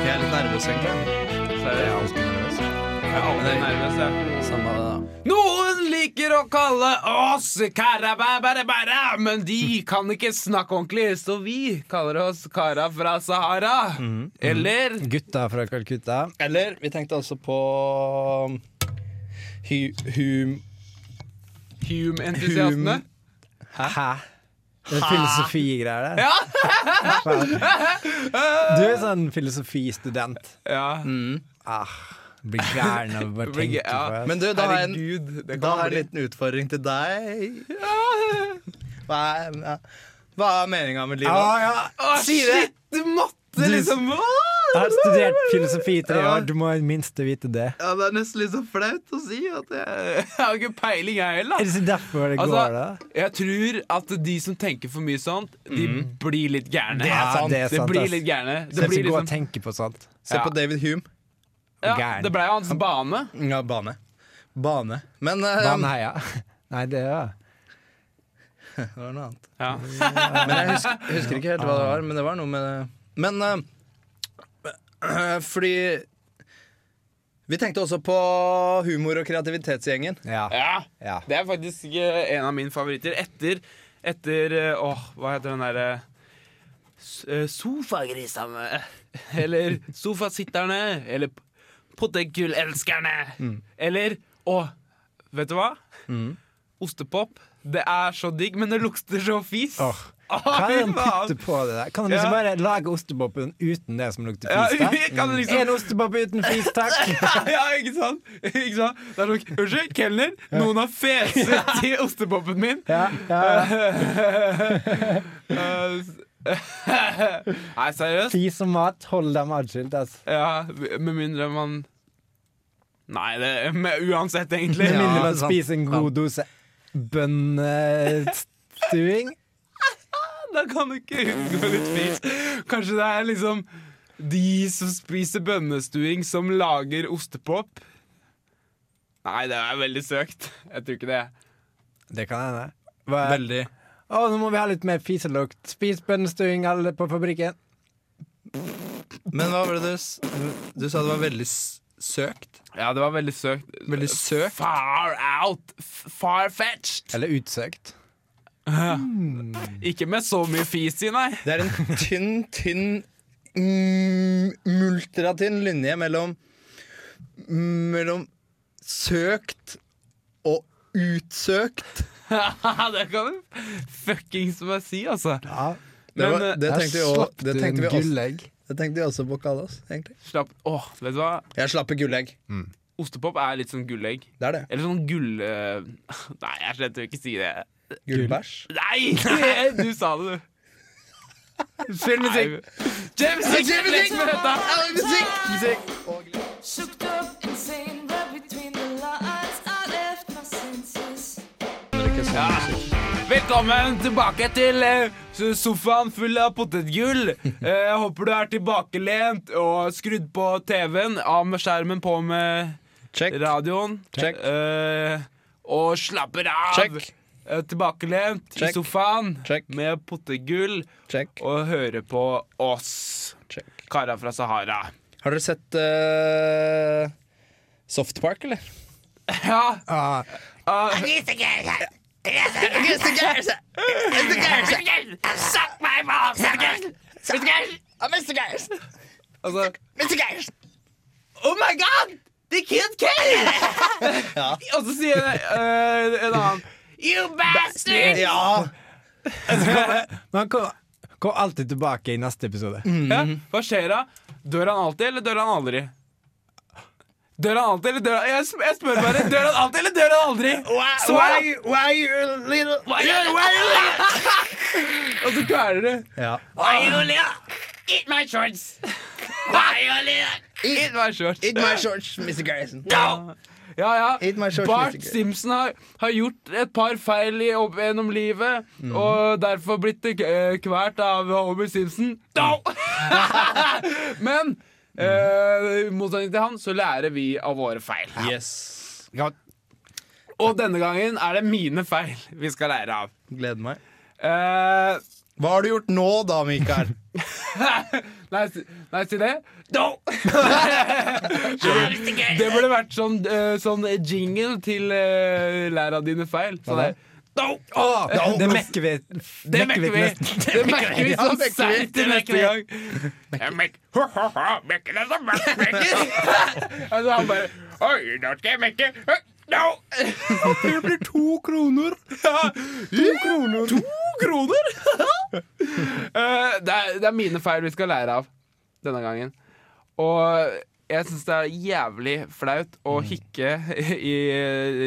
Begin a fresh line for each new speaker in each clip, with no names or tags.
Jeg er litt nervøs, egentlig. Jeg er
Seriøst?
alltid nervøs.
Jeg er alltid nervøs, jeg.
Samme det,
Noen liker å kalle oss karabæbærebæra, men de kan ikke snakke ordentlig, så vi kaller oss kara fra Sahara. Eller
da. Gutta fra Calcutta.
Eller vi tenkte også på hu, hum...
Hume-entusiastene.
Hæ? Det er filosofigreier der.
Ja!
Du er sånn filosofistudent.
ja.
Ah, blir gæren av å bare
Blir
tenke
gæ- ja.
på det.
Men du, da har jeg en,
Herregud, det
da har jeg
kan man
en
bli.
liten utfordring til deg. Hva er, ja. hva er meninga med livet?
Ah, ja.
Å, shit! Du måtte liksom
Jeg har
Åh!
studert filosofi i tre
Ja.
år, du må i det minste vite det.
Ja, Det er nesten litt så flaut å si at jeg
Jeg har ikke peiling, jeg
Er
heller.
det så derfor det
Altså,
går, da?
jeg tror at de som tenker for mye sånt, de blir litt gærne.
Det er
Ja,
sant.
det er
Det
sant,
blir
ass.
litt gærne.
Det
Det blir
å
liksom,
tenke på sånt.
Se
Ja.
på David Hume.
ja,
gæren.
det ble jo hans bane.
Ja, bane. Bane. Men
Um,
eh,
Baneheia. Nei, det er
det var noe annet.
Ja.
Men jeg husker, jeg husker ikke helt hva det var, men det var noe med det. Men eh, fordi Vi tenkte også på humor- og kreativitetsgjengen.
ja.
Ja.
ja.
Det er faktisk eh, en av mine favoritter. Etter, etter eh, Åh, hva heter den eh, derre uh, Sofagrisene. eh, Eller Sofasitterne. Eller p- Potetgullelskerne.
Mm.
Eller Å, vet du hva? Ostepop. Det er så digg, men det lukter så fis.
Åh.
Åh,
Kan
fy
de
faen.
putte på det der? Kan de liksom
Ja.
bare lage ostepopen uten det som lukter
Ja,
fis? da?
kan du liksom
Mm. En ostepop uten fis, takk!
ja, ikke sant? Ikke sant? Det er nok, Unnskyld, kelner. Noen har feset i ostepopen min.
Ja, ja.
Nei, seriøst?
Fis og mat, hold dem atskilt, altså.
Ja, med mindre man Nei, det med, uansett, egentlig.
Med mindre man
sant,
spiser en god dose bønnestuing.
Da kan du ikke unngå litt fis. Kanskje det er liksom de som spiser bønnestuing, som lager ostepop. Nei, det er veldig søkt. Jeg tror ikke det.
Det kan hende. Hva-
Veldig.
Å, nå må vi ha litt mer fiselukt. Spis bønnestuing, alle på fabrikken.
Men hva var det du s- Du sa det var veldig s- søkt?
Ja, det var veldig søkt.
Veldig søkt?
Far out! Far-fetched!
Eller utsøkt.
Ikke med så mye fis i, nei.
Det er en tynn, tynn mm, Multratynn linje mellom Mellom søkt og utsøkt.
det kan du fuckings meg si, altså.
Ja,
Det,
Men,
var,
eh,
det,
der
tenkte vi
slapp
også, det,
du
tenkte
en
vi også,
gullegg.
det tenkte vi også på å kalle oss, egentlig.
Slapp Åh, vet du hva?
Jeg slapper gullegg.
Ostepop er litt sånn gullegg.
Det er det.
Eller sånn gull... eh, Nei, jeg slett vil ikke si det.
Gullbæsj.
Nei! Du sa det, du. Spill musikk. James James James med dette.
Shook up, insane, right between the lines. I left my senses.
Velkommen tilbake til eh, sofaen full av potetgull. Eh, Jeg håper du er tilbakelent og skrudd på TV-en, av med skjermen, på med
Check.
radioen.
Check.
Eh, og slapper av.
Check.
Eh, Tilbakelent i
Check.
sofaen
Check.
med potetgull
Check.
og høre på oss,
Check.
kara fra Sahara.
Har dere sett eh, Soft Park, eller?
Ja,
Ah,
Uh, Uh, altså Oh my god! The kid came! Og så sier jeg, eh, en annen You bastard!
Ja!
men han kom, kom alltid tilbake i neste episode.
Mm.
Ja, hva skjer da? Dør han alltid, eller dør han aldri? Dør han alltid, eller dør han Jeg, sp jeg spør bare. Dør han alltid, eller dør han aldri? Svar! da.
why you little
Why you- why you- Og så kveler du. Ah.
Ja.
Why you little- Eat my shorts! Why you little- Eat my shorts.
Eat my shorts, Mr. Garrison.
No! Eh. Ja, ja.
Eat my shorts,
Bart
Mr. Gay.
Simpson har, har gjort et par feil i- opp gjennom livet, og derfor blitt eh, kvert av Homer Simpson. No! Men eh, i motsetning til han, så lærer vi av våre feil.
Yes.
Ja,
Og denne gangen er det mine feil vi skal lære av.
Gleder meg.
Eh,
Hva har du gjort nå da, Mikael?
nei, si- nei, si det. No! det burde vært sånn, eh, sånn jingle til eh, lær av dine feil. Sånn
Hva
der.
da?
No!
Å,
Ja,
det
men-
mekker vi.
Det mekker vi!
nesten.
Det mekker vi
Ja,
så
mekker vi.
seint til
Det mekker
neste gang. Jeg mek- Mekker det som mekker. Altså, han bare Oi, nå skal jeg mekke. No! Det blir to kroner. To kroner. To kroner? Eh, det, er, det er mine feil vi skal lære av denne gangen. Og jeg syns det er jævlig flaut å hikke i,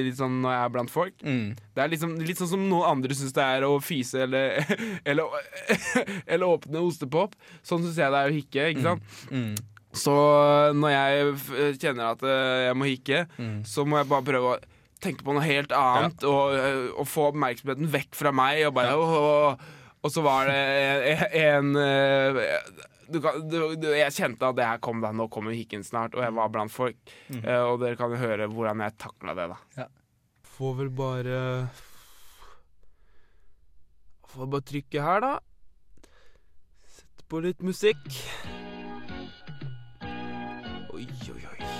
litt sånn når jeg er blant folk. Det er liksom, litt sånn som noen andre syns det er å fyse eller, eller, eller åpne ostepop. Sånn syns jeg det er å hikke. ikke sant?
Mm.
Så eh, når jeg f- kjenner at eh, jeg må hikke, så må jeg bare prøve å tenke på noe helt annet og, eh, og få oppmerksomheten vekk fra meg. Og, bare, «Åh». og så var det e, en, en eh, du kan, du, du, Jeg kjente at det her kom da, nå kommer hikken snart, og jeg var blant folk. Eh, og dere kan jo høre hvordan jeg takla det, da.
Ja.
Får vel bare Får bare trykke her, da. Sette på litt musikk. Oi, oi, oi.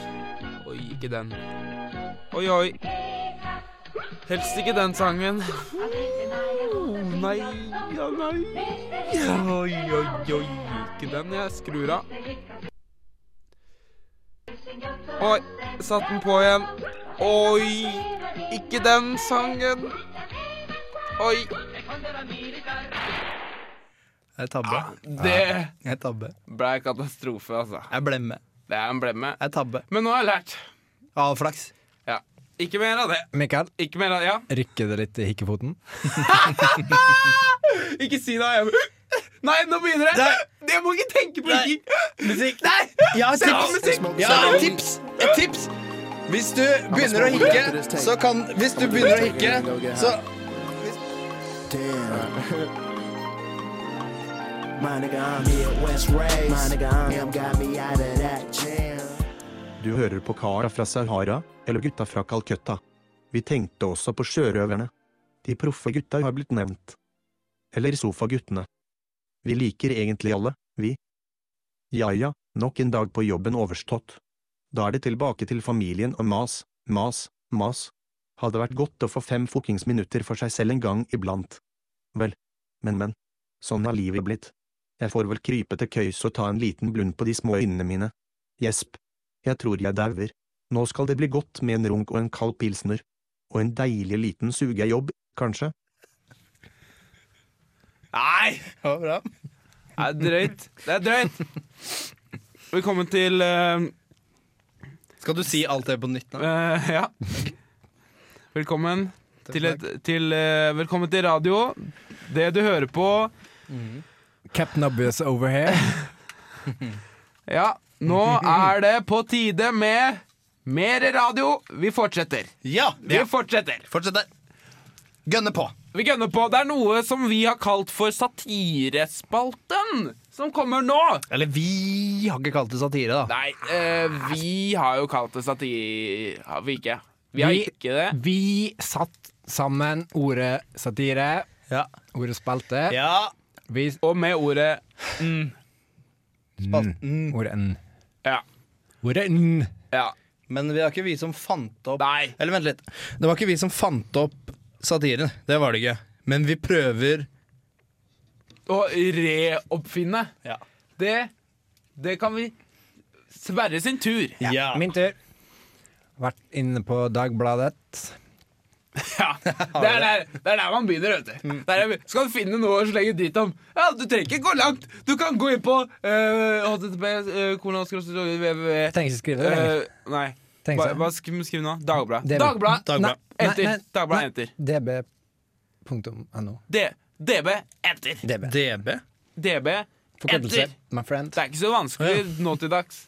Oi, ikke den. Oi, oi. Helst ikke den sangen. Oh, nei, ja, nei. Oi, oi, oi. Ikke den. Jeg skrur av. Oi, satt den på igjen. Oi, ikke den sangen. Oi.
Jeg tabber.
Det
Jeg tabber.
ble katastrofe, altså.
Jeg blemmer.
Det er en blemme.
Jeg tabber.
Men nå har jeg lært.
Avflaks.
Ja. Ikke mer av det.
Mikael,
Ikke mer av Ja,
rykker det litt i hikkefoten?
ikke si det. Jeg... Nei, nå begynner det!
Nei.
Jeg må ikke tenke på
Nei.
ikke
Musikk.
Nei!
Jeg har
Ja,
tips.
musikk.
Jeg har et tips. Et tips. Hvis du begynner å hikke, så kan Hvis du begynner å hikke, så
Du hører på kara fra Sahara, eller gutta fra Calcutta. Vi tenkte også på sjørøverne. De proffe gutta har blitt nevnt. Eller sofaguttene. Vi liker egentlig alle, vi. Ja ja, nok en dag på jobben overstått. Da er det tilbake til familien og mas, mas, mas. Hadde vært godt å få fem fuckings minutter for seg selv en gang iblant. Vel, men men. Sånn har livet blitt. Jeg får vel krype til køys og ta en liten blund på de små øynene mine. Gjesp. Jeg tror jeg dauer. Nå skal det bli godt med en runk og en kald pilsner. Og en deilig liten sugejobb, kanskje?
Nei!
Ja, bra.
Det er drøyt. Det er drøyt. Velkommen til eh,
Skal du si alt det på nytt nå?
eh, Ja. Velkommen til, et, til eh, Velkommen til radio. Det du hører på
Captain Obvious over here.
Ja, nå er det på tide med mer radio. Vi fortsetter.
Ja.
Vi fortsetter.
Fortsett der. Gønne på.
Vi gønner på. Det er noe som vi har kalt for Satirespalten, som kommer nå.
Eller vi har ikke kalt det satire, da.
Nei, eh, vi har jo kalt det satir... Har vi ikke? Vi har
Vi-
ikke det.
Vi satt sammen ordet satire,
Ja.
ordet spalte.
ja.
Vi
Og med ordet
Spalten.
Ordet n.
Ja.
Ordet n.
ja.
Men det var ikke vi som fant opp
Nei.
Eller vent litt. Det var ikke vi som fant opp satiren. Det var det ikke. Men vi prøver
Å reoppfinne.
Ja.
Det Det kan vi Sverre sin tur.
Ja.
Min tur. Vært inne på Dagbladet.
Ja, det er, der, det er der man begynner, vet du. Der er, skal du finne noe å slenge dritt om? Ja, Du trenger ikke gå langt. Du kan gå inn på eh, HTTP eh, kolon, skråstrek, www.
Jeg trenger ikke skrive det. lenger.
Eh, Nei.
Tenk
Hva
seg.
hva sk- skriv nå? Dagbladet.
DB.
Dagbladet.
Dagbladet.
Nei,
Enter.
nei,
Dagbladet
nei.
enter.
DB. Punktum no.
D DB enter.
DB.
DB?
DB
Forkortelse.
enter.
My friend.
Det er ikke så vanskelig nå til dags.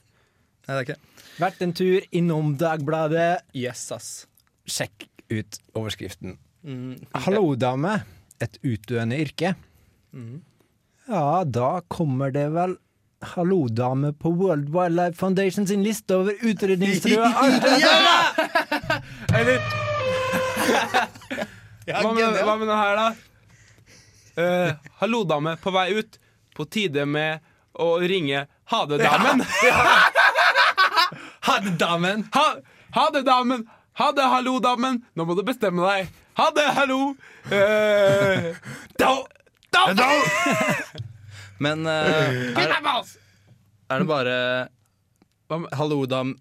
Nei, det er ikke det.
Vært en tur innom Dagbladet.
Yes, ass.
Sjekk ut overskriften.
Mm.
Hallo, dame. Et utdøende yrke.
Mm.
Ja, da kommer det vel Hallo, dame på World Wildlife Foundation sin liste over utrydningstrua arter.
Ja!
Eller
Ja,
Hva med, hva
genial.
med det her, da? Eh, hallo, dame. På vei ut. På tide med å ringe Ha det, damen.
Ha det, damen!
Ha, ha det, damen. Ha det, hallo, damen. Nå må du bestemme deg. Ha det, hallo. Eh, da, da,
Men eh, er,
Nei, men altså.
er det bare
Hva med-
hallodam,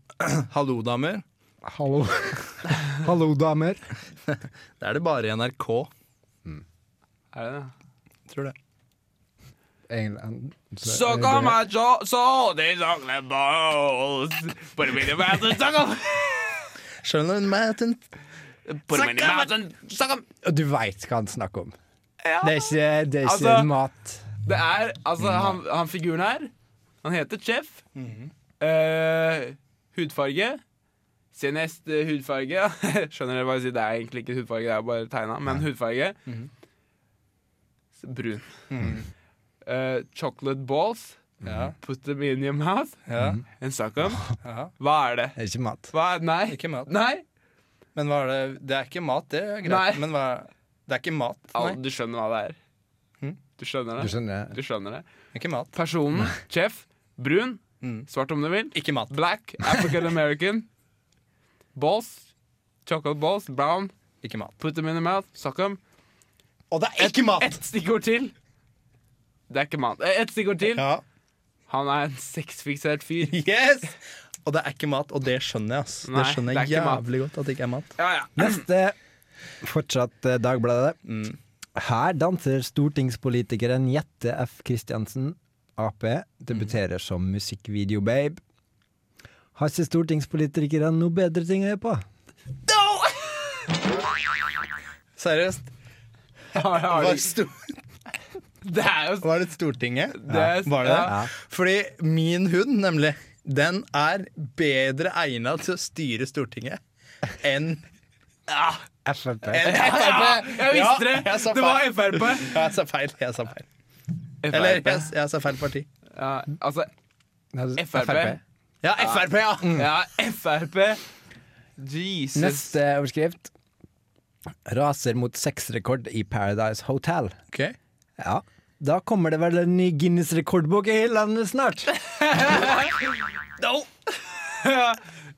hallodamer?
Hallo. Hallo, damer.
Det er det bare i NRK,
Er det det?
tror det.
England. Så, eh,
Så kommer så, så de sangene balls. På det minne med en sang.
Skjønner du meg at en
På det minne med en sang.
Du veit hva han snakker om.
Ja.
Det er ikke, det er ikke
Altså-
mat.
Det er, altså
Mm.
han, han figuren her Han heter Chef
Mm-hmm.
Eh, Hudfarge Senest eh, hudfarge Skjønner dere hva jeg sier Det er egentlig ikke hudfarge, det er bare tegna Men hudfarge
Mm-hmm.
S- Brun Eh, Chocolate balls Put them in your mouth Mm-hmm.
Ja,
En sak om
ja.
Hva er det?
Det er ikke mat.
Hva er, nei,
Ikke mat.
nei
Men hva er det Det er ikke mat, det er greit.
Nei.
Men hva Det er ikke mat.
Al-
Nei,
Du skjønner hva det er
Mhm.
Du skjønner
Du
det
skjønner?
Du skjønner det
ikke mat.
Personen, Chef, brun
Mm.
Svart om du vil
Ikke mat.
Black, African American. Balls. Chocolate balls. Brown.
Ikke mat.
Put them in the mouth. Suck them.
Og det er ikke mat!
Ett stikkord til. Det er ikke mat. Eh, Ett stikkord til.
Ja.
Han er en sexfiksert fyr.
Yes! Og det er ikke mat, og det skjønner jeg. ass Det
Nei,
skjønner
det
jeg
er ikke mat.
jævlig godt at det ikke er mat.
Ja, ja.
Neste. Fortsatt eh, Dagbladet.
Mm.
Her danser stortingspolitikeren Jette F. Kristiansen, Ap, debuterer som musikkvideo-babe. Har ikke stortingspolitikeren noe bedre ting å gjøre på?
Seriøst.
Ja, ja, ja.
Var, sto
Det er jo
var det Stortinget?
Det er-
var det det?
ja.
Fordi min hund, nemlig, den er bedre egna til å styre Stortinget enn
Frp.
enn
Ja, Jeg visste det!
Ja, jeg sa
det var
feil.
Frp.
Jeg sa feil. Jeg sa feil. Eller
Eller
jeg, jeg sa feil parti.
ja, Altså, Frp.
Ja, Frp, ja!
ja, Frp. Jesus.
Neste overskrift. Raser mot sexrekord i Paradise Hotel.
Ok.
Ja. Da kommer det vel en ny Guinness-rekordbok i landet snart.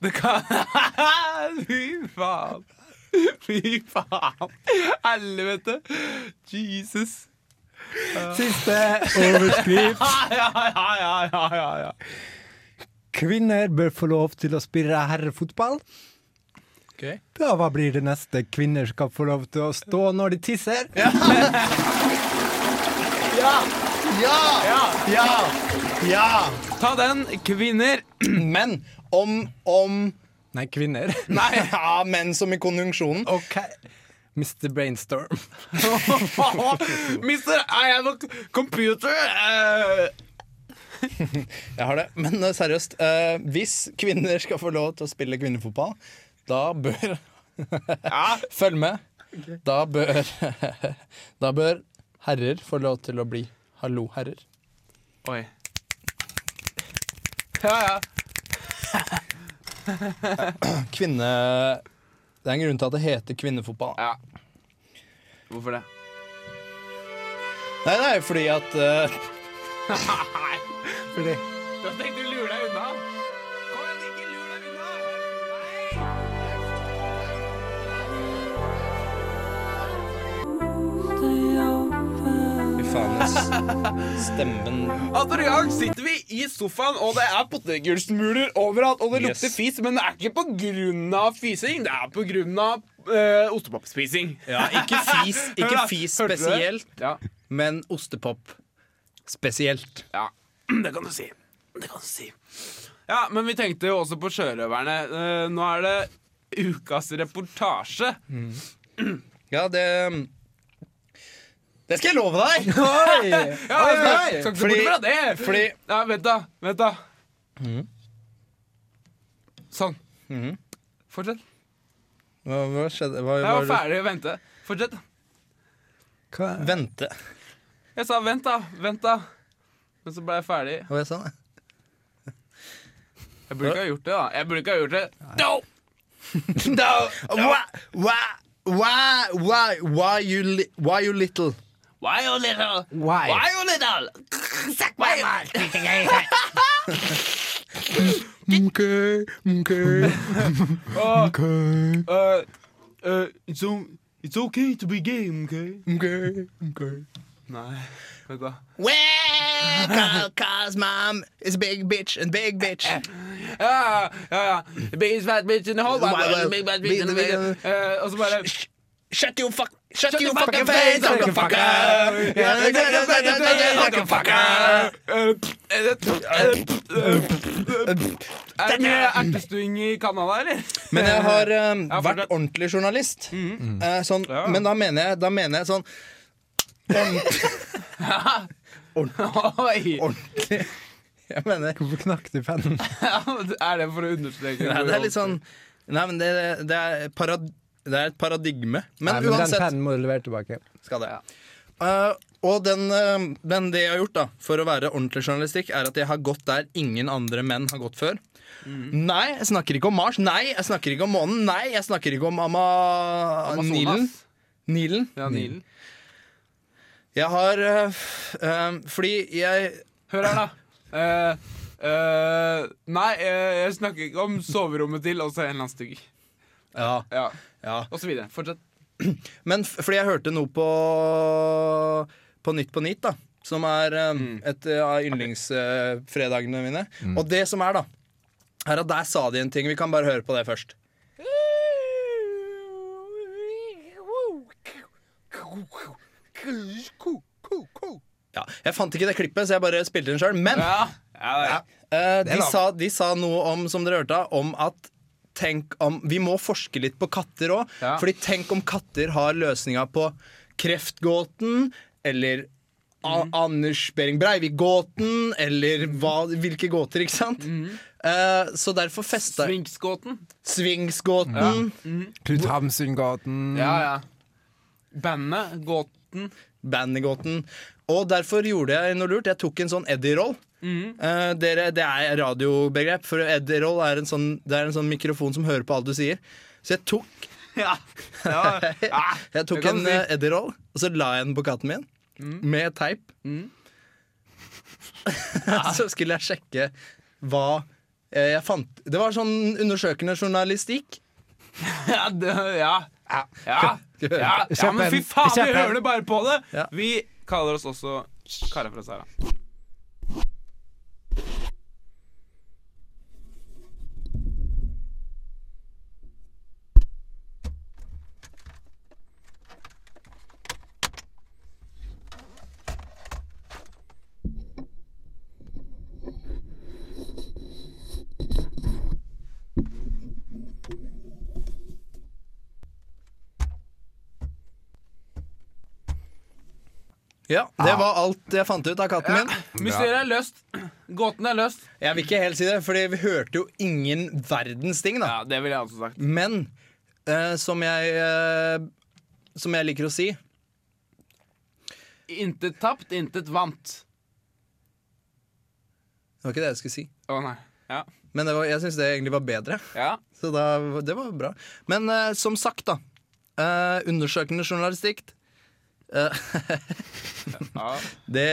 Det kan Fy faen. Fy faen. Helvete. Jesus.
Siste overskrift.
Ja, ja, ja, ja, ja, ja.
Kvinner bør få lov til å spille herrefotball.
Ok.
Da hva blir det neste? Kvinner skal få lov til å stå når de tisser.
Ja! Ja! Ja!
Ta den, kvinner.
Men om, om
Nei, kvinner.
Nei, ja, men som i konjunksjonen.
OK. Mr. Brainstorm.
Mister, I have a computer. Eh,
Jeg har det, men eh, seriøst. eh, hvis kvinner skal få lov til å spille kvinnefotball, da bør Følg med. Da bør Da bør herrer få lov til å bli hallo-herrer.
Oi. Ja, ja.
Kvinne... Det er en grunn til at det heter kvinnefotball.
ja. Hvorfor det?
Nei, det er jo fordi at eh,
Da tenkte du lure deg unna. Kom igjen, ikke lur deg unna. Nei.
Fy faen, ass. Stemmen
Atter en gang Altså, sitter vi i sofaen, og det er potetgullsmuler overalt. Og det
Yes.
lukter fis, men det er ikke på grunn av fising. Det er på grunn av uh, ostepopspising.
Ja, ikke fis, ikke
Hør da,
fis
hørte du det?
spesielt,
Ja,
men ostepop spesielt.
ja. Det kan du si. Det kan du si. Ja, men vi tenkte jo også på sjørøverne. Eh, nå er det ukas reportasje.
Ja, det um, Det skal jeg love deg!
Ja, jeg skal, skal ikke se
Fordi-
bort fra det.
fordi-
ja, vent, da. Vent, da. Sånn. Fortsett.
Hva, hva skjedde? Hva,
Jeg var
hva-
ferdig å vente. Fortsett. da.
Hva?
Vente.
Jeg sa vent, da. Vent, da. Men så ble jeg ferdig.
Hva var jeg sa jeg?
Jeg burde ikke ha gjort det, da. Jeg burde ikke ha gjort det. No!
No! Wha, wha, Why, why, why, you li why you little?
Why you little?
Why?
Why you little? Suck my mouth.
Okay, okay.
Uh, uh, uh, it's, o- it's okay to be gay, okay?
Okay, okay.
Nei. vet du hva?
Well, Carl, Carl's mom is a big bitch and big bitch.
Ja, ja, ja. The biggest fat bitch in the whole wide world.
Wild,
Big fat
big,
bitch in the
big,
world. Eh, Og så bare
Shut your fuck, shut,
Shut
your
your
fucking,
fucking
face,
face,
motherfucker.
Er det mye ertestuing i Canada, eller?
Men jeg har um,
for
vært
det-
ordentlig journalist. Eh, sånn,
Ja.
Men da mener jeg, da mener jeg sånn ordent-
Oi!
Ordentlig. Jeg mener
Hvorfor knakk du pennen?
Er det for å understreke?
Nei, det er litt sånn Nei, men det, det, er, parad, det er et paradigme. Men,
Nei, men den
uansett
pennen må du levere tilbake.
skal det. Eh, og den, eh, men det jeg har gjort da for å være ordentlig journalistikk, er at jeg har gått der ingen andre menn har gått før. Nei, jeg snakker ikke om Mars. Nei, jeg snakker ikke om månen. Nei, jeg snakker ikke om ama...
Amazonas.
Nilen. Nilen.
Ja, Nilen.
Jeg har eh, f- eh, Fordi jeg
Hør her, da. Eh, eh, nei, eh, jeg snakker ikke om soverommet til og så en eller annen stygg.
Ja.
Ja.
ja.
Og så videre. Fortsett.
Men f- fordi jeg hørte noe på På Nytt på Nytt, da. Som er eh, et eh, av yndlingsfredagene mine. Og det som er, da, er at der sa de en ting. Vi kan bare høre på det først. Ja, jeg fant ikke det klippet, så jeg bare spilte den sjøl. Men
Ja. Ja, ja.
eh, de,
lov.
sa, de sa noe om, som dere hørte, om at tenk om, vi må forske litt på katter òg.
Ja.
Fordi tenk om katter har løsninga på kreftgåten eller A
Mm.
Anders Behring Breivik-gåten, eller hva, hvilke gåter, ikke sant?
Mm.
Eh, så derfor festa
Svinkskåten.
Svingsgåten.
Knut Hamsundgaten.
Ja, ja. Bandet. Gåten.
Bandygåten. Og derfor gjorde jeg noe lurt. Jeg tok en sånn Eddie-roll.
Mhm.
Eh, dere, det er radiobegrep, for Eddie-roll er, en sånn, det er en sånn mikrofon som hører på alt du sier. Så jeg tok,
Ja. ja. Ah,
jeg
det
tok
kan
en
du si. Mhm.
eh, Eddie-roll, og så la jeg den på katten min med teip. så skulle jeg sjekke hva eh, jeg fant Det var sånn undersøkende journalistikk.
Ja, det, ja. Ja. Ja. Ja.
Kjøp
men
en-
fy faen, vi
kjøp en.
hører det bare på det!
Ja.
Vi kaller oss også Kara fra Sara.
Ja, Det var alt jeg fant ut av katten min.
Mysteriet er løst. Gåten er løst.
Jeg vil ikke helt si det, Fordi vi hørte jo ingen verdens ting. da
Ja, Det ville jeg også sagt.
Men eh, som, jeg, eh, som jeg liker å si
Intet tapt, intet vant.
Det var ikke det jeg skulle si,
Å nei. Ja.
men det var, jeg syns det egentlig var bedre.
ja.
Så da, det var bra. Men eh, som sagt, da. eh, undersøkende journalistikk. eh,
ja.
det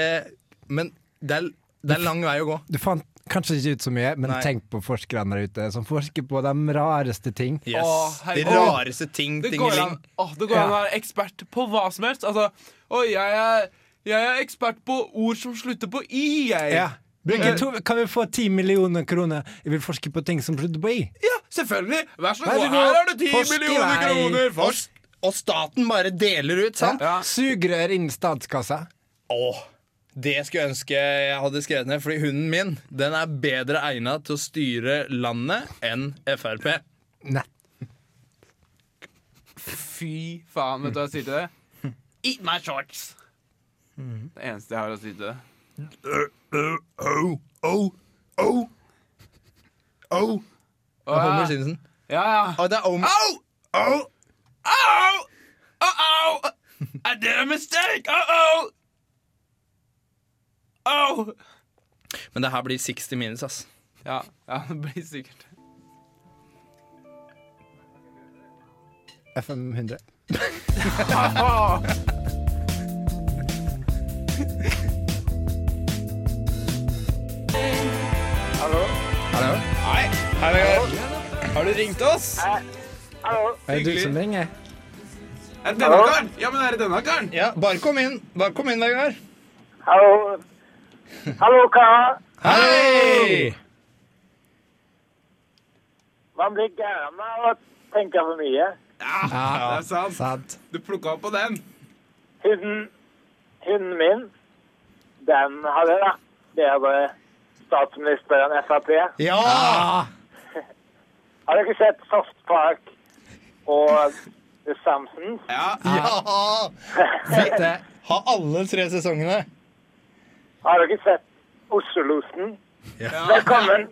Men det er, det er lang vei å gå.
Du fant kanskje ikke ut så mye, men
Nei.
tenk på forskerne der ute som forsker på de rareste ting.
Yes.
Å,
de
herregud.
rareste ting,
Det går an,
tingeling.
åh, det går an å være ekspert på hva som helst. Altså, oi, jeg er, jeg er ekspert på ord som slutter på i, jeg.
Ja. Hvilke to, kan vi få ti millioner kroner? Jeg vil forske på ting som slutter på i.
Ja, selvfølgelig! Vær så
Vær så
god,
god.
her er det ti
Forsk i
millioner
vei.
kroner!
Og,
Forsk!
og staten bare deler ut, sant?
Ja.
Sugerør innen statskassa.
Åh, det skulle jeg ønske jeg hadde skrevet ned, fordi hunden min den er bedre egnet til å styre landet enn Frp.
Nett.
Fy faen, vet du hva jeg sier til det? Eat my shorts! Det eneste jeg har å si til det.
Oh, oh, oh. Oh.
Å,
Homer
ja.
Simpson.
ja, ja.
Å, det er om...
Au!
Oh!
Au! Au! Au! I did a mistake! Au! Au! Au!
Men det her blir 60 minus, ass.
Ja, ja, det blir sikkert
FM 100.
Hallo? Hei. Har du ringt oss?
Er det du som ringer?
Er det denne karen? Ja, men er det denne karen?
Ja, bare kom inn. Bare kom inn, Vegard.
Hallo. Hallo, karer.
Hei!
Man blir gæren av å tenke for mye.
Ja, det er sant.
Sant.
Du plukka opp på den.
Hunden, hunden min, den hadde vært bedre statsminister enn Frp.
Ja!
Har dere sett Soft Park og The Samsons?
Ja.
ja.
Dette,
Ha alle tre sesongene.
Har dere sett Oslo-losen?
Ja.
Velkommen.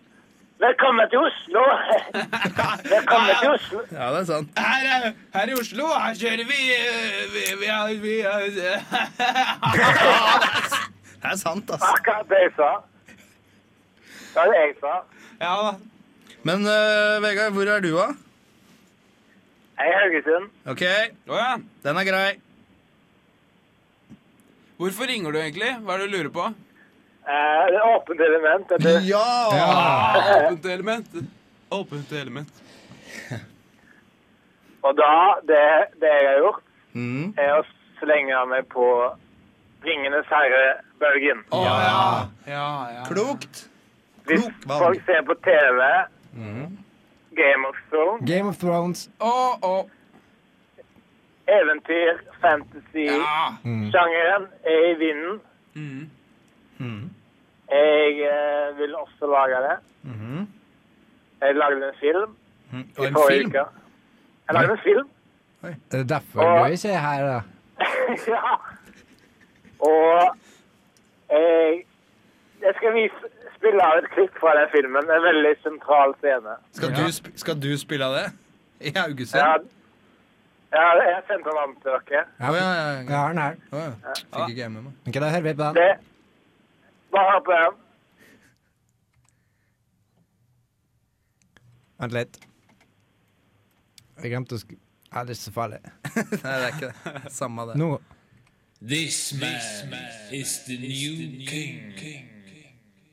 Velkommen til Oslo! Velkommen til Oslo.
Ja, det er sant.
Her, er- her i Oslo, her kjører vi eh, Vi, vi, har- vi, har-
Det er sant, ass.
Akkurat det jeg sa. Det var det jeg sa.
Ja da.
Men eh, Vegard, hvor er du, da?
Jeg er i Haugesund.
OK,
Å ja.
den er grei.
Hvorfor ringer du egentlig? Hva er det du lurer på?
Eh, det er åpent element. vet du.
Ja!
Åpent element. Åpent element.
Og da, det, det jeg har gjort,
Mm.
er å slenge meg på Ringenes herre-bølgen.
Å ja. ja, ja.
Klokt.
Hvis
klok valg. Mm.
folk ser på TV Game of Thrones,
Game of Thrones.
Å, å.
eventyr, fantasy
Ja.
Mm.
Sjangeren er i vinden.
Mm.
Mm.
Jeg eh, vil også lage det. Jeg lagde en film
Mm-hmm. Mm. Og
i
en
forrige
film.
uke. Jeg lagde en film.
Det er derfor du ikke er her, da.
ja. Og jeg, jeg skal vise, spille av et klipp fra den filmen. En veldig sentral scene.
Skal du, sp skal du spille av det? I Haugesund?
Jeg har, jeg har jeg sendte den an til dere.
Å, ja, ja,
Jeg
ja.
har den her.
Å, ja. Fikk ikke jeg med meg.
Ok, da hører vi på den.
Det, bare hør på den.
Vent litt. Jeg glemte å sk... Ja, det er ikke så farlig.
Nei, det er ikke det. Samme det.
Nå
This man, is the new, king,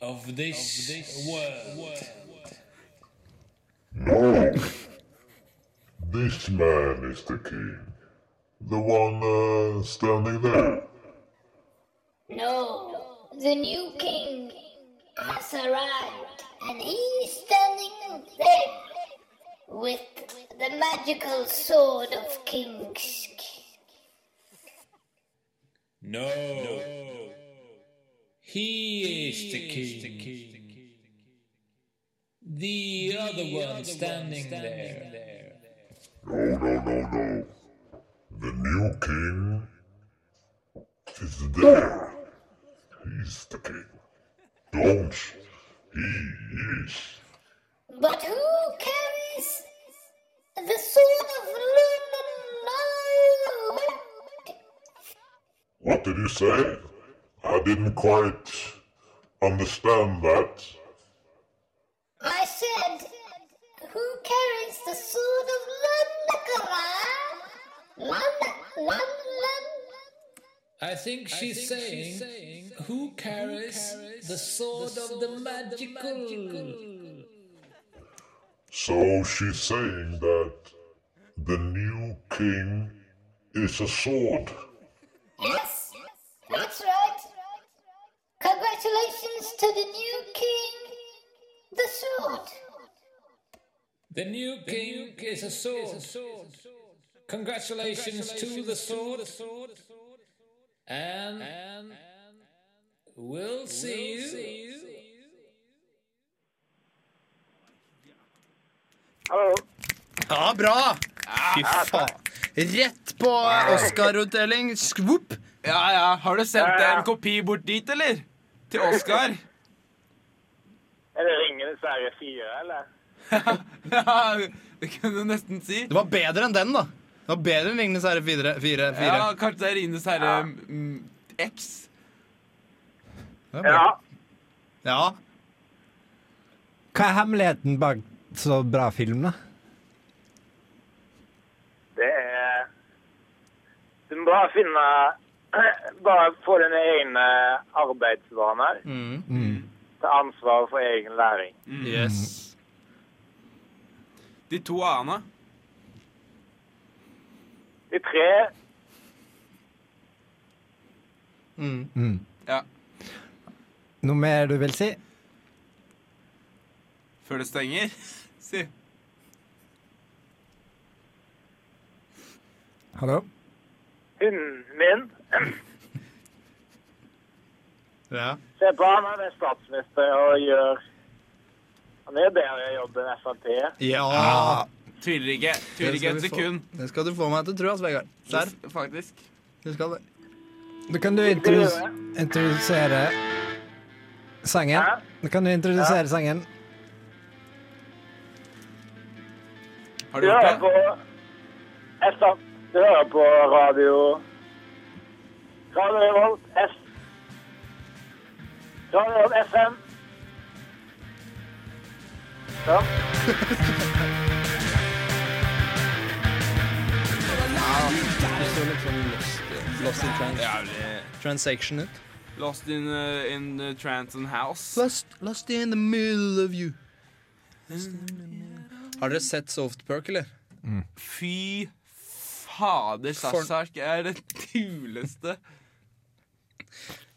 of this, world.
This man is the king. The one uh, standing there.
No, the new king has arrived, and he is standing there with the magical sword of kings.
No. He, is, the king. The, other one standing, there.
No, no, no, no. The new king is there. He's the king. Don't. He is.
But who carries the sword of Lord?
What did you say? I didn't quite understand that.
I said, who carries the sword of Lundakara? Lund, Lund, Lund.
I think she's, saying, who carries, the, sword of the magical.
So she's saying that the new king is a sword.
Yes, that's right. Congratulations to the new king, the sword.
The new king, is, a sword. Congratulations, to the sword. And, we'll see you.
Hallo.
Ja, bra! Fy faen. Rett på Oscar-utdeling. Skvopp!
Ja, ja. Har du sendt en kopi bort dit, eller? Til Oskar?
Er det Ringenes herre 4, eller?
Ja, det kunne du nesten si.
Det var bedre enn den, da. Det var bedre enn Ringenes herre 4. fire.
Ja, kanskje det er Rines herre mm, X.
Det var bra.
Ja.
ja.
Hva er hemmeligheten bak så bra film, da?
Det er Du må bare finne Bare få dine egne arbeidsvaner. Ta ansvar for egen læring.
Yes. De to a-ene.
De tre
Ja.
Noe mer du vil si?
Før det stenger. Si.
Hallo?
Hunden min
Ja.
Se på han, han er statsminister og gjør Han gjør bedre jobb enn Frp.
ja.
Tviler
Det
ikke. Tviler ikke
skal
et
vi få-
sekund.
Det skal du få meg til å tro, ass, Vegard. Der.
Faktisk.
Du skal det.
Da kan du introdus introdusere sangen.
Hæ?
Da kan du introdusere sangen.
Har
Du
du
hører
gjort
på
det?
Jeg sta- Du hører på radio Radio Revolt F... Radio Revolt FM. Ja.
Lost in trans
Jævlig.
transaction it.
Lost in, uh, in uh, trance and house.
Lost, lost in the middle of you. Har dere sett Softperk, eller?
Fy fader, Sasark er det kuleste.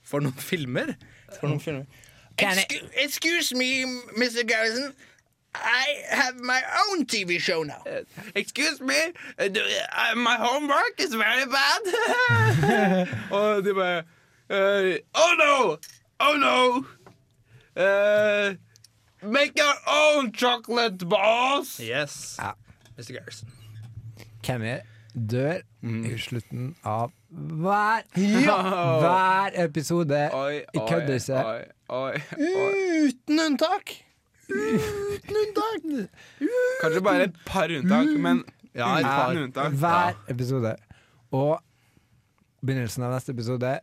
For noen filmer? For noen filmer. Excuse, excuse me, Mr. Garrison. I have my own TV show now.
Excuse me, uh, do- uh, my homework is very bad. Og de bare uh, Oh no! Oh no! Uh, make your own chocolate balls!
Yes. Mr. Garrison.
Kenny dør
Mm.
i slutten av hver Hver episode.
Oi,
Jeg
oi,
kødder ikke.
oi, oi, oi.
Uten unntak. Uten unntak.
Kanskje bare et par unntak,
Mm.
men
Ja, et par.
uten unntak.
Hver episode. Og begynnelsen av neste episode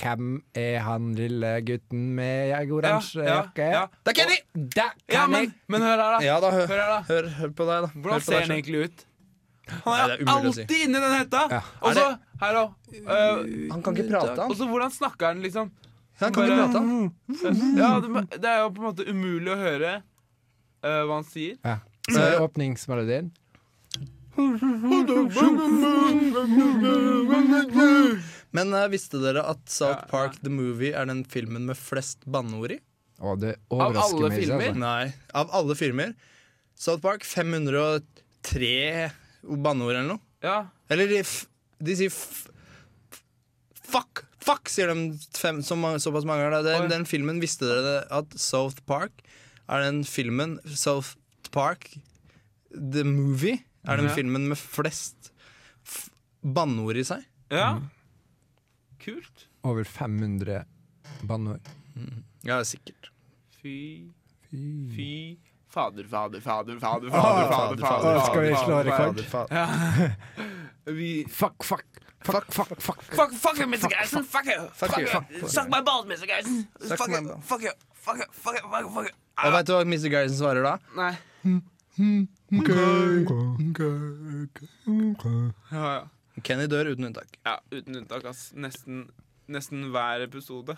Hvem er han lille gutten med jeg- oransje jakke?
Det er Kenny!
Det
Ja,
kan jeg!
men, men hør her, da.
Ja da, hør,
Hør her, da.
hør, hør på deg, da. Hør
Hvordan
på
ser
deg
han
selv.
egentlig ut? Han
Nei,
er
det er umulig å si.
alltid inni den hetta. Og
Er
så
det-
Her òg.
Han kan ikke prate,
Og
han.
så hvordan snakker han, liksom?
Han kan ikke
bare-
prate, han. Mm.
Ja, det, det er jo på en måte umulig å høre eh, hva han sier.
Ja. Så er åpningsmelodien.
Men eh, visste dere at South
Ja,
Park The Movie er den filmen med flest banneord i?
Å, det
Av alle
overrasker meg ikke.
filmer?
altså.
Nei. Av alle filmer. South Park 503 banneord eller noe.
Ja,
Eller de, f de sier f Fuck! Fuck, sier de fem, så ma- såpass mange ganger. da.
Oi.
Den, den filmen, visste dere det, at South Park er den filmen South Park The Movie er den
Ja.
filmen med flest f banneord i seg?
ja. Kult.
Over 500 banneord.
Ja, sikkert.
Fy Fy Fader, fader, fader, fader, fader,
Å,
fader,
Ah, fader,
fader,
fader,
skal vi
fader,
slå
fader,
rekord?
Fader, fader.
fader. Vi
Fuck, fuck. Fuck, fuck, fuck.
Fuck, fuck you, Mr. Geisen. Fuck you.
Fuck you.
Suck my balls, Mr. Geisen.
Suck
Fuck
my
you.
balls.
Fuck you. Fuck you. Fuck you. Fuck you. Fuck you.
Og vet du hva Mr. Garrison svarer da?
Nei. Ja, ja.
Kenny dør uten unntak.
ja, uten unntak, ass. Nesten, nesten hver episode.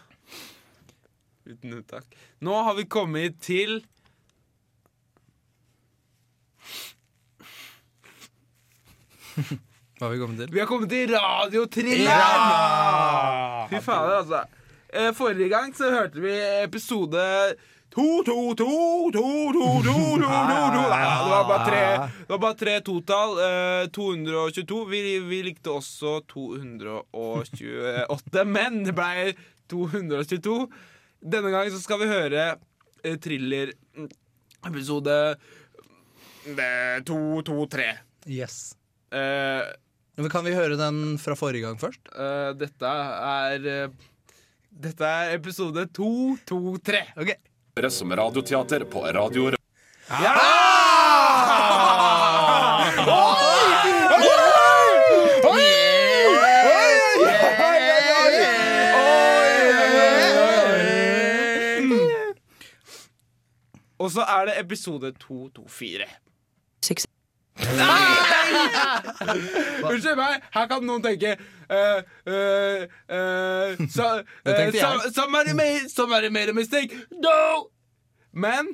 Uten unntak. Nå har vi kommet til
Hva har vi kommet til?
Vi har kommet til radiotrilleren! Fy fader, altså. Eh, Forrige gang så hørte vi episode 2-2-2-2-2-2-2-2 Det var bare tre, det var bare tre totall. eh, 222. Vi, vi likte også 228, men det ble 222. Denne gangen så skal vi høre eh, thriller mm, episode eh, 223.
Yes.
Eh,
Men kan vi høre den fra forrige gang først?
Eh, dette er eh, Dette er episode 223.
Ok.
som radioteater på radio.
Ja! Og så er det episode 224. Nei! Unnskyld meg, her kan noen tenke eh, eh, eh, so,
Det
eh,
tenkte jeg.
some- somebody, made, somebody made a mistake No! Men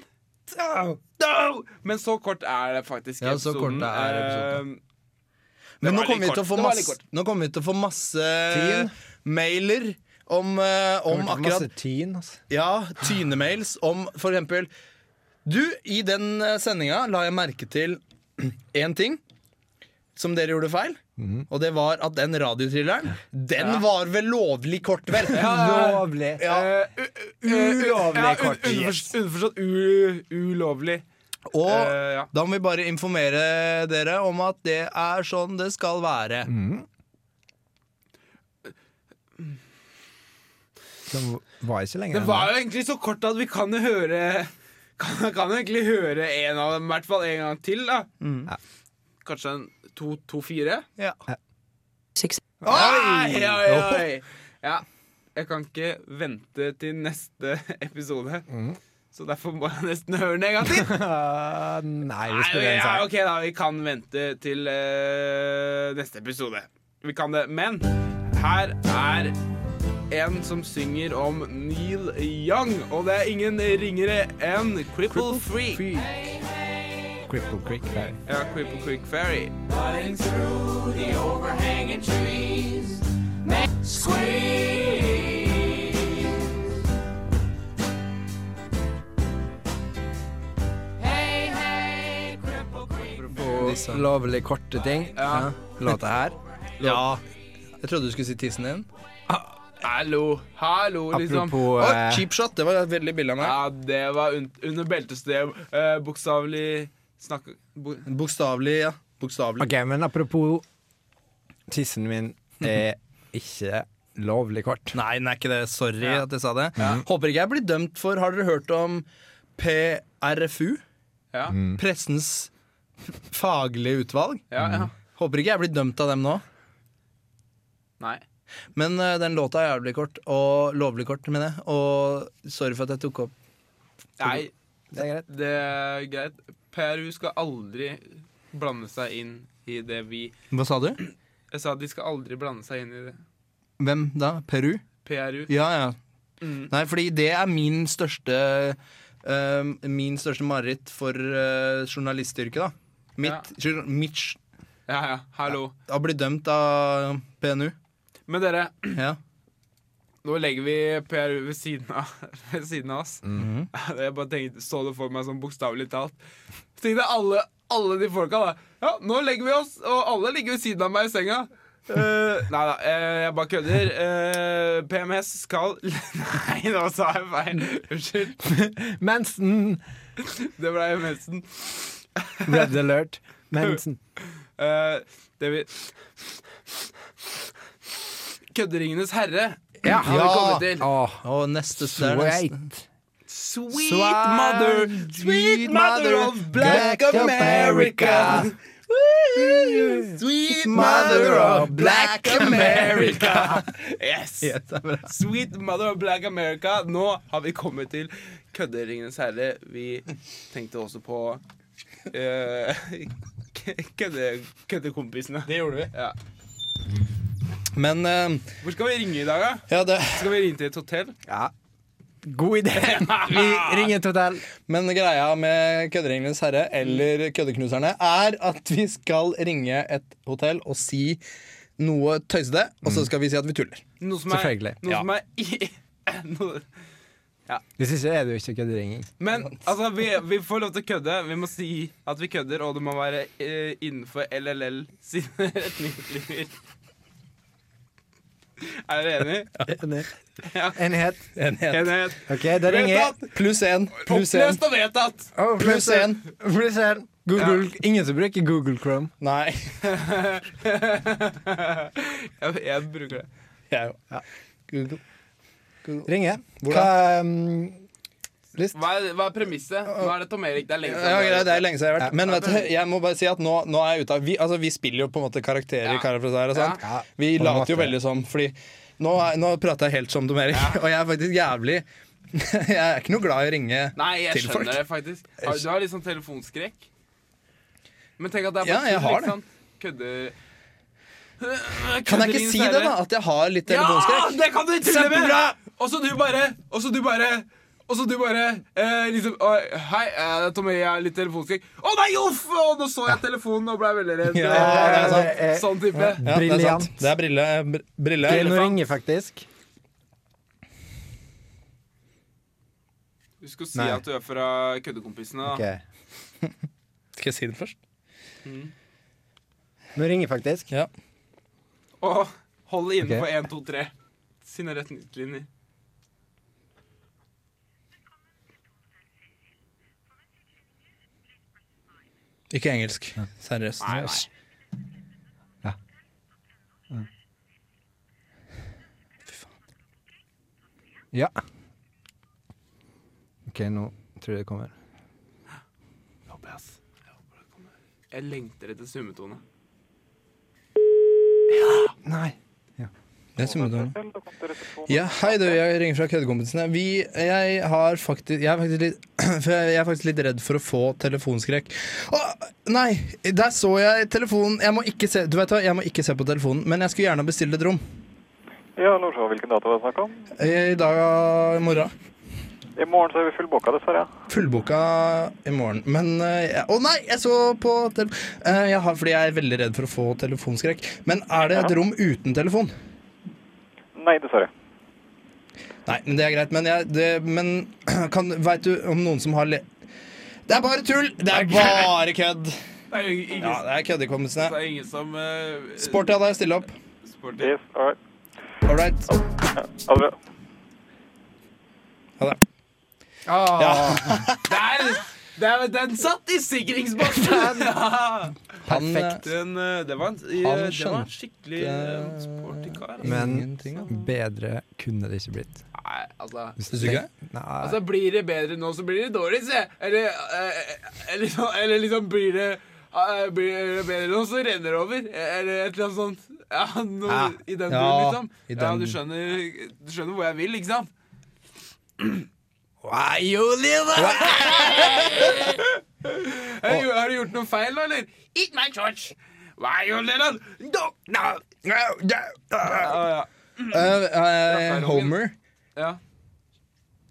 No! Men så kort er det faktisk
Ja, så kort
episoden.
er episoden.
Eh,
Men
Det
nå
var
kommer vi
litt
til å
kort.
få
Det var litt
masse, nå kommer vi til å få masse mailer om, eh, om
Kommer til
akkurat
Masse tyn, altså.
Ja, tynemails om for eksempel Du, i den eh, sendinga la jeg merke til én ting som dere gjorde feil.
Mhm.
Og det var at den radiotrilleren, den var vel lovlig kort, vel?
Lovlig.
Ja.
ja,
Ulovlig
un-
kort.
underforst- Underforstått u- ulovlig.
Og
Eh, ja.
da må vi bare informere dere om at det er sånn det skal være.
Mhm.
Den var ikke lenger
Det var jo egentlig så kort at vi kan jo høre Kan, kan jo egentlig høre en av dem, i hvert fall en gang til. da
Ja.
Kanskje en to, to fire?
Ja.
Oi, oi, oi. Ja. Jeg kan ikke vente til neste episode, så derfor må jeg nesten høre den en gang til.
Eh, Nei, vi
Nei,
spiller en
ja,
sang.
ok da, vi kan vente til eh, neste episode. Vi kan det. Men her er en som synger om Neil Young, og det er ingen ringere enn Cripple Freak.
Cripple Creek. Ferry.
Ja, Cripple Creek Ferry.
Cutting through the overhanging trees. Ma- Squeeze. Hey, hey, Cripple Creek.
Disse.
Lovlig korte ting.
Ja.
Låta her.
Ja. Jeg trodde du skulle si tissen din.
Hallo, hallo, liksom.
Apropos
Oi,
eh,
cheap shot. Det var veldig billig av meg.
Ja, det var un under beltestev. Uh, Bokstavelig snakk... Bo
Bokstavelig, ja. Bokstavelig.
OK, men apropos Tissen min er ikke lovlig kort.
Nei, den er ikke det. Sorry at jeg sa det. Mhm. Håper ikke jeg blir dømt for Har dere hørt om PRFU?
ja,
Mm.
Mm.
Pressens faglige utvalg?
ja, ja.
Håper ikke jeg blir dømt av dem nå.
Nei.
Men eh, den låta er jævlig kort, og lovlig kort, mener jeg. Og sorry for at jeg tok opp
Nei.
Det er greit.
Det er greit. Peru skal aldri blande seg inn i det vi
Hva sa du?
Jeg sa at de skal aldri blande seg inn i det.
Hvem da? Peru?
PRU.
Ja, ja.
Mm.
Nei, fordi det er min største eh, Min største mareritt for eh, journalistyrket, da. Mitt, jour- mitt sj-
Ja, ja. Hallo.
Å bli dømt av PNU.
Men dere,
Ja.
nå legger vi PRU ved siden av, ved siden av oss. Jeg bare tenkte, så det for meg sånn bokstavelig talt. Så tenkte jeg alle, alle de folka, da. Ja, nå legger vi oss, og alle ligger ved siden av meg i senga. Uh, nei da, eh, jeg bare kødder. Eh, PMS skal Nei, nå sa jeg feil. Unnskyld.
Mensen!
Det ble mensen.
Red alert. Mensen.
Eh, det vi Kødderingenes herre
Ja,
har vi kommet til.
Åh,
Og neste det er
sweet.
nesten-
Sweet mother, sweet mother of black
Black
America.
America.
Sweet
mother of black
America. Yes.
Ja, det er bra.
Sweet mother of black America. Nå har vi kommet til Kødderingenes herre. Vi tenkte også på eh, k- kødde, køddekompisene. Det gjorde vi. Ja.
Men eh,
Hvor skal vi ringe i dag, da?
ja, det,
Skal vi ringe til et hotell?
Ja. God idé! Vi ringer et hotell.
men greia med Kødderingenes herre eller Køddeknuserne er at vi skal ringe et hotell og si noe tøysete, og så skal vi si at vi tuller.
Noe som er,
Selvfølgelig.
Noe
Ja.
som er i, noe,
Hvis ikke er det jo ikke kødderinging.
men altså, vi, vi får lov til å kødde. Vi må si at vi kødder, og det må være eh, innenfor LLL sine retningslinjer. Er dere enige? Ja.
Enighet.
Enighet.
Enighet.
OK, da ringer
Vedtatt!
Pluss én. Pluss én.
Oppløst og vedtatt!
oh,
Pluss en.
Pluss en. Google. Ingen som bruker Google Chrome.
Nei.
jeg, jeg bruker det.
Jeg òg. Google.
Ringer.
Hvordan?
Hva um, Lyst?
Hva er, hva er premisset? Nå er det Tom Erik. Det er lenge
Ja, greit, det er
siden.
lenge siden jeg har vært Men vet du, jeg må bare si at nå, nå er jeg ute av vi, altså, vi spiller jo på en måte karakterer i
Ja.
Karakter og sånt.
Ja.
Vi
På en
later jo
måte.
veldig som Fordi nå, er, nå prater jeg helt som Tom Erik Og jeg er faktisk jævlig Jeg er ikke noe glad i å ringe
Nei, jeg
til folk
skjønner det faktisk. Har, du har litt sånn telefonskrekk. Men tenk at det er
Ja,
bare
jeg
tull,
har
ikke
det.
sant? Kødder
Kan jeg ikke si det, da? At jeg har litt
Ja,
telefonskrekk?
det kan du tulle med!
Kjempebra!
Og så du bare Og så du bare Og så du bare eh, liksom «Oi, Hei, eh, det er Tommy, jeg har litt telefonskrekk. Å nei, uff! Å, nå så jeg telefonen og ble veldig redd.
Ja, det er sant.
Eh, Sånn type.
Ja, det er sant. Det er brille. br- brille.
Nå ringer faktisk.
Du skal si
Nei.
at du er fra Køddekompisene.
Ok.
da.
Skal jeg si det først?
Mm.
Nå ringer faktisk.
Ja.
Og hold inne
Ok.
på 1, 2, 3. Sine retningslinjer.
Ikke engelsk. Seriøst.
Nei, nei.
Ja. OK, nå tror jeg det kommer.
Jeg håper, ass. Jeg håper det kommer. Jeg lengter etter summetone.
Nei.
Det er summetårene. Ja, hei du, jeg ringer fra Køddekompisene. Vi, jeg har faktisk jeg er faktisk, litt, for jeg er faktisk litt redd for å få telefonskrekk. Å, nei! Der så jeg telefonen. Jeg må ikke se Du vet hva, jeg må ikke se på telefonen, men jeg skulle gjerne bestille et rom.
Ja, Nordsjå, hvilken dato var det snakk om?
I dag i morgen.
I morgen så er vi fullbokka, dessverre.
Fullboka i morgen. Men eh, jeg- Å nei, jeg så på tele... eh, jeg har, Fordi jeg er veldig redd for å få telefonskrekk. Men er det et rom uten telefon?
Nei, dessverre.
Nei, men det er greit. Men, jeg, det, men kan, vet du om noen som har le... Det er bare tull! Det er bare kødd!
Det er jo ingen,
Ja, det er
det
køddekompisene.
er ingen som eh,
Sporty av deg å stille opp.
Sporty.
Yes, all right.
All right.
Ha det bra.
Ha det. Ja.
Der! Der, den satt i sikringsboksen! Ja.
Han, eh,
Den, eh, det var en, eh,
Han
det var en
skjønte-
skikkelig eh, sporty kar. altså.
Men bedre kunne det ikke blitt.
Nei, altså
Synes du ikke det?
Nei.
Altså, Blir det bedre nå, så blir det dårlig, se. Eller, eh, eller, så- eller liksom blir det eh, blir det bedre nå, så renner det over. Eller et eller annet sånt. Ja, noe,
Ja.
I den
Ja,
duren, liksom.
i
Ja,
den-
du skjønner, du skjønner hvor jeg vil, ikke sant?
Why you live
Har du- har du gjort noe feil, da, eller? Eat my church! Why you little dog? No. Ja, ja.
Eh, eh, Homer.
ja.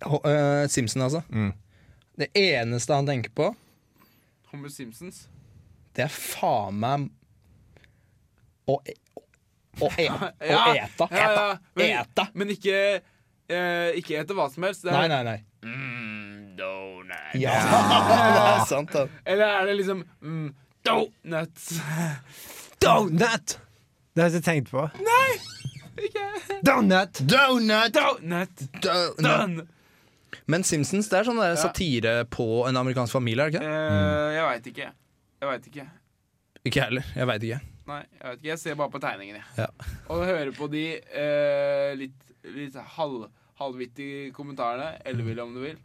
Ho eh, Simpson, altså.
Mm.
Det eneste han tenker på,
Homer Simpsons.
det er faen meg å e- å e- å
Ja,
eta.
ja,
Eta.
ja. Men,
Eta.
men ikke eh, Ikke etter hva som helst. Det
Nei,
er,
nei, nei. Mm, Ja, det er sant, da.
Eller er det liksom mm, Donuts.
Donut! Det har jeg ikke tenkt på.
Ikke-
Donut!
Donut!
Donut.
Donut!
Don.
Men Simpsons det er sånn der satire på en amerikansk familie, er det ikke?
Eh, jeg veit ikke. Jeg veit ikke.
det? Ikke jeg heller. Jeg veit ikke.
Nei, jeg vet ikke. Jeg ser bare på tegningene. jeg.
Ja.
Og hører på de eh, litt, litt halv, halvvittige kommentarene. Elleville, om du vil.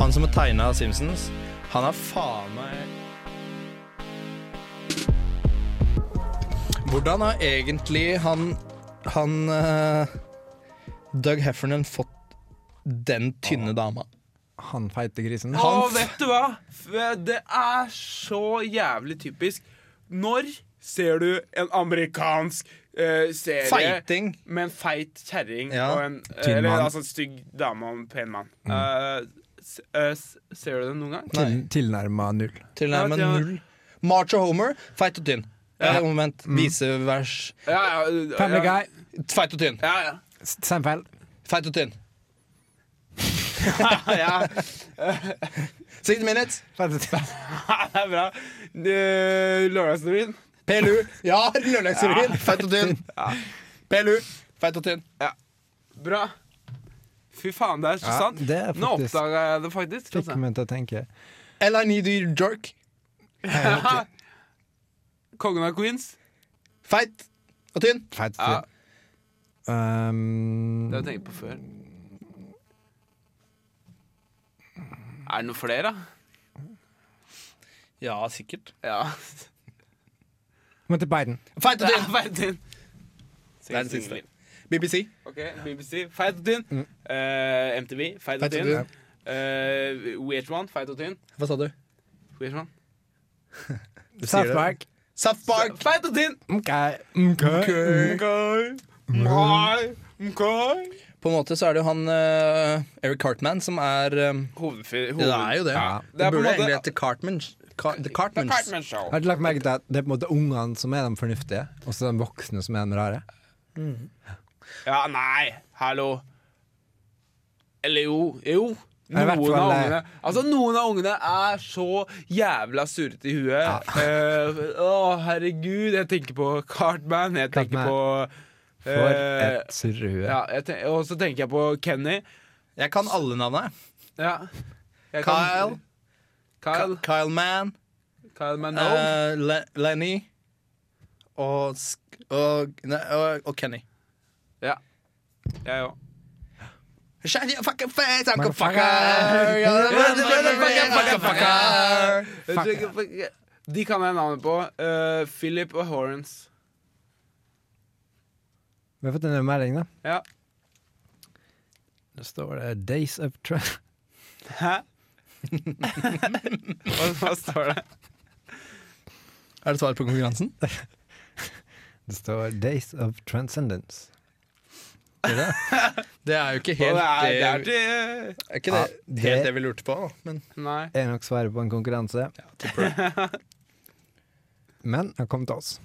Han som har tegna Simpsons, han er faen meg Hvordan har egentlig han Han eh, Doug Heffernan fått den tynne dama?
Han feite grisen.
Å, vet du hva? F- Det er så jævlig typisk. Når ser du en amerikansk eh, serie
Feiting!
med en feit kjerring
Ja,
og en
tynn
Eller
mann. Mm.
altså en stygg dame og en pen mann? Eh, s- eh, s- ser du det noen gang?
Til, tilnærma null.
Tilnærmet
Ja, ja.
null. March og Homer, feit og tynn.
Ja. Mm.
Eh, moment. Visevers.
Ja, ja, ja,
Family
ja,
Guy,
Feit og tynn.
ja, ja.
Seinfeld.
Feit og tynn.
ja.
60 minutes. altså.
Det er bra. Eh, Lørdagsrevyen.
PLU. Ja, Lørdagsrevyen. Feit og tynn. PLU. Feit og tynn.
Bra. Fy faen, det er så
Ja,
sant.
det er
Nå
faktisk-
oppdaga jeg det faktisk.
Fikk
Altså.
meg til å tenke.
Eller I need you jerk.
Kongen av Queens.
Feit og tynn.
Feit
Ja,
til. Um,
det har jeg tenkt på før. Er det noen flere, da?
Ja, sikkert.
Ja.
men til Biden.
Feit og
Det
tynn.
er feit din.
Det er det siste. BBC.
Ok, BBC, feit og tynn. Eh, MTV, Mm. feit og Eh,
Feit og
tynn. Uh, VH1, feit og tynn.
Hva sa du? Du
VH1.
sier det.
Saftmark.
Saftmark.
Feit og tynn.
Ok.
På en måte så er det jo han eh, Eric Cartman som er um,
Hovedfyr.
Det er jo det.
Det
Det,
er på en
burde
måte-
egentlig hete Cartman. Car The Cartmans.
Jeg har ikke lagt merke til at det er på en måte ungene som er de fornuftige, og så er de voksne som er de rare.
Ja, nei, hallo. Eller jo, jo.
Ja, i
Noen av
hvert fall, eh,
ungene Altså, noen av ungene er så jævla surrete i huet. Eh, Å, herregud. Jeg tenker på Cartman. Jeg tenker
Cartman.
på
For
eh,
et surrehue.
ja, jeg ten Og så tenker jeg på Kenny.
Jeg kan alle navnene.
Ja. Jeg
Kyle.
Kyle.
Ka- Kyle Mann.
Kyle Manoa.
eh, Le Lenny. Og, Sk- og, nei, og, og Kenny.
ja. Jeg òg.
Shut your fucking face, uncle
Motherfucker.
fucker! You're the motherfucking fucking fucker!
De kan jeg navnet på. Eh, Philip og Horrence.
Vi har fått en melding, da.
Ja.
Det står det 'Days of Travel'.
Hæ? hva, hva står det?
Er det svar på konkurransen?
Det står 'Days of Transcendence'.
Det er jo ikke helt
det er, det er
det,
til
er ikke det,
Ja, det-
helt det vi lurte på. da, Men
eh, Nei.
Er nok svaret på en konkurranse, men han kom til oss.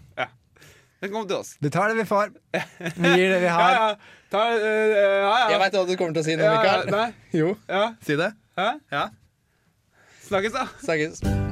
Den kom til oss.
Vi tar det vi får. Vi gir det vi
Ja,
har.
ja. Ta, eh, eh, ja, ja.
jeg veit hva du kommer til å si nå,
Ja, ja,
Mikael.
Nei.
Jo,
Ja.
si det.
Hæ?
Ja.
Snakkes, da.
Snakkes.